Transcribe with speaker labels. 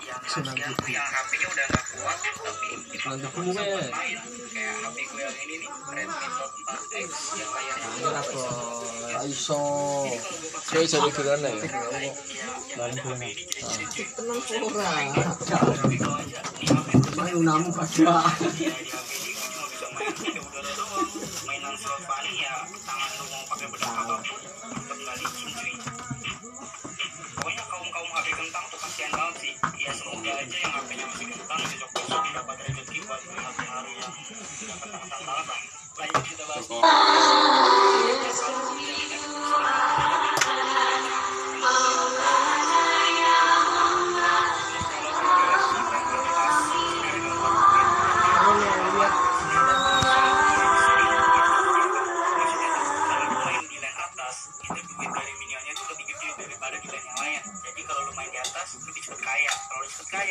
Speaker 1: yang, yang HP-nya udah nggak kuat tapi dipaksa
Speaker 2: Lanjut
Speaker 1: paksa
Speaker 2: dulu,
Speaker 1: buat
Speaker 2: Be.
Speaker 1: main kayak HP gue yang ini nih Redmi Note 4X yang layarnya
Speaker 2: Ini apa? Aiso.
Speaker 3: Saya bisa pikiran ya.
Speaker 2: Tenang ora. Main unamu pada.
Speaker 1: mainan slot paling ya tangan lu mau pakai bedak apapun tetap nggak licin cuy pokoknya kaum kaum HP kentang tuh kasihan banget sih ya semoga aja yang HP-nya masih kentang besok besok dapat rezeki buat beli HP baru yang yang kentang kentang banget lah lanjut kita bahas
Speaker 3: Toko.
Speaker 1: daripada di lain yang lain. Jadi kalau lu main di atas, lu lebih cepet kaya. Kalau lu cepet kaya,